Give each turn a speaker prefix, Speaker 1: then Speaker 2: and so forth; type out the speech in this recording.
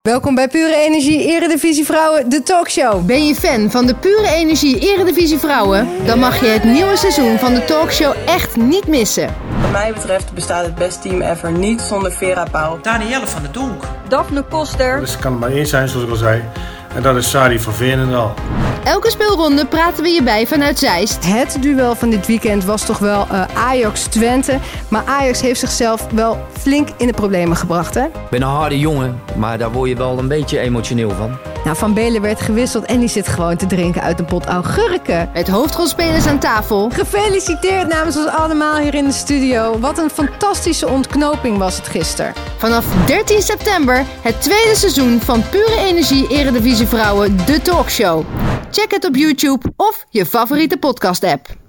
Speaker 1: Welkom bij Pure Energie Eredivisie Vrouwen, de talkshow.
Speaker 2: Ben je fan van de Pure Energie Eredivisie Vrouwen? Dan mag je het nieuwe seizoen van de talkshow echt niet missen.
Speaker 3: Wat mij betreft bestaat het best team ever niet zonder Vera Pauw.
Speaker 4: Danielle van der Donk.
Speaker 5: Daphne Koster.
Speaker 6: Dus het kan er maar één zijn, zoals ik al zei. En dat is Sari van Veenendaal.
Speaker 2: Elke speelronde praten we je bij vanuit Zeist.
Speaker 1: Het duel van dit weekend was toch wel eh, Ajax-Twente. Maar Ajax heeft zichzelf wel flink in de problemen gebracht, hè?
Speaker 7: Ik ben een harde jongen, maar daar word je wel een beetje emotioneel van.
Speaker 1: Nou, Van Belen werd gewisseld en die zit gewoon te drinken uit een pot augurken.
Speaker 2: Met hoofdrolspelers aan tafel.
Speaker 1: Gefeliciteerd namens ons allemaal hier in de studio. Wat een fantastische ontknoping was het gisteren.
Speaker 2: Vanaf 13 september het tweede seizoen van Pure Energie Eredivisie Vrouwen, de talkshow. Check het op YouTube of je favoriete podcast app.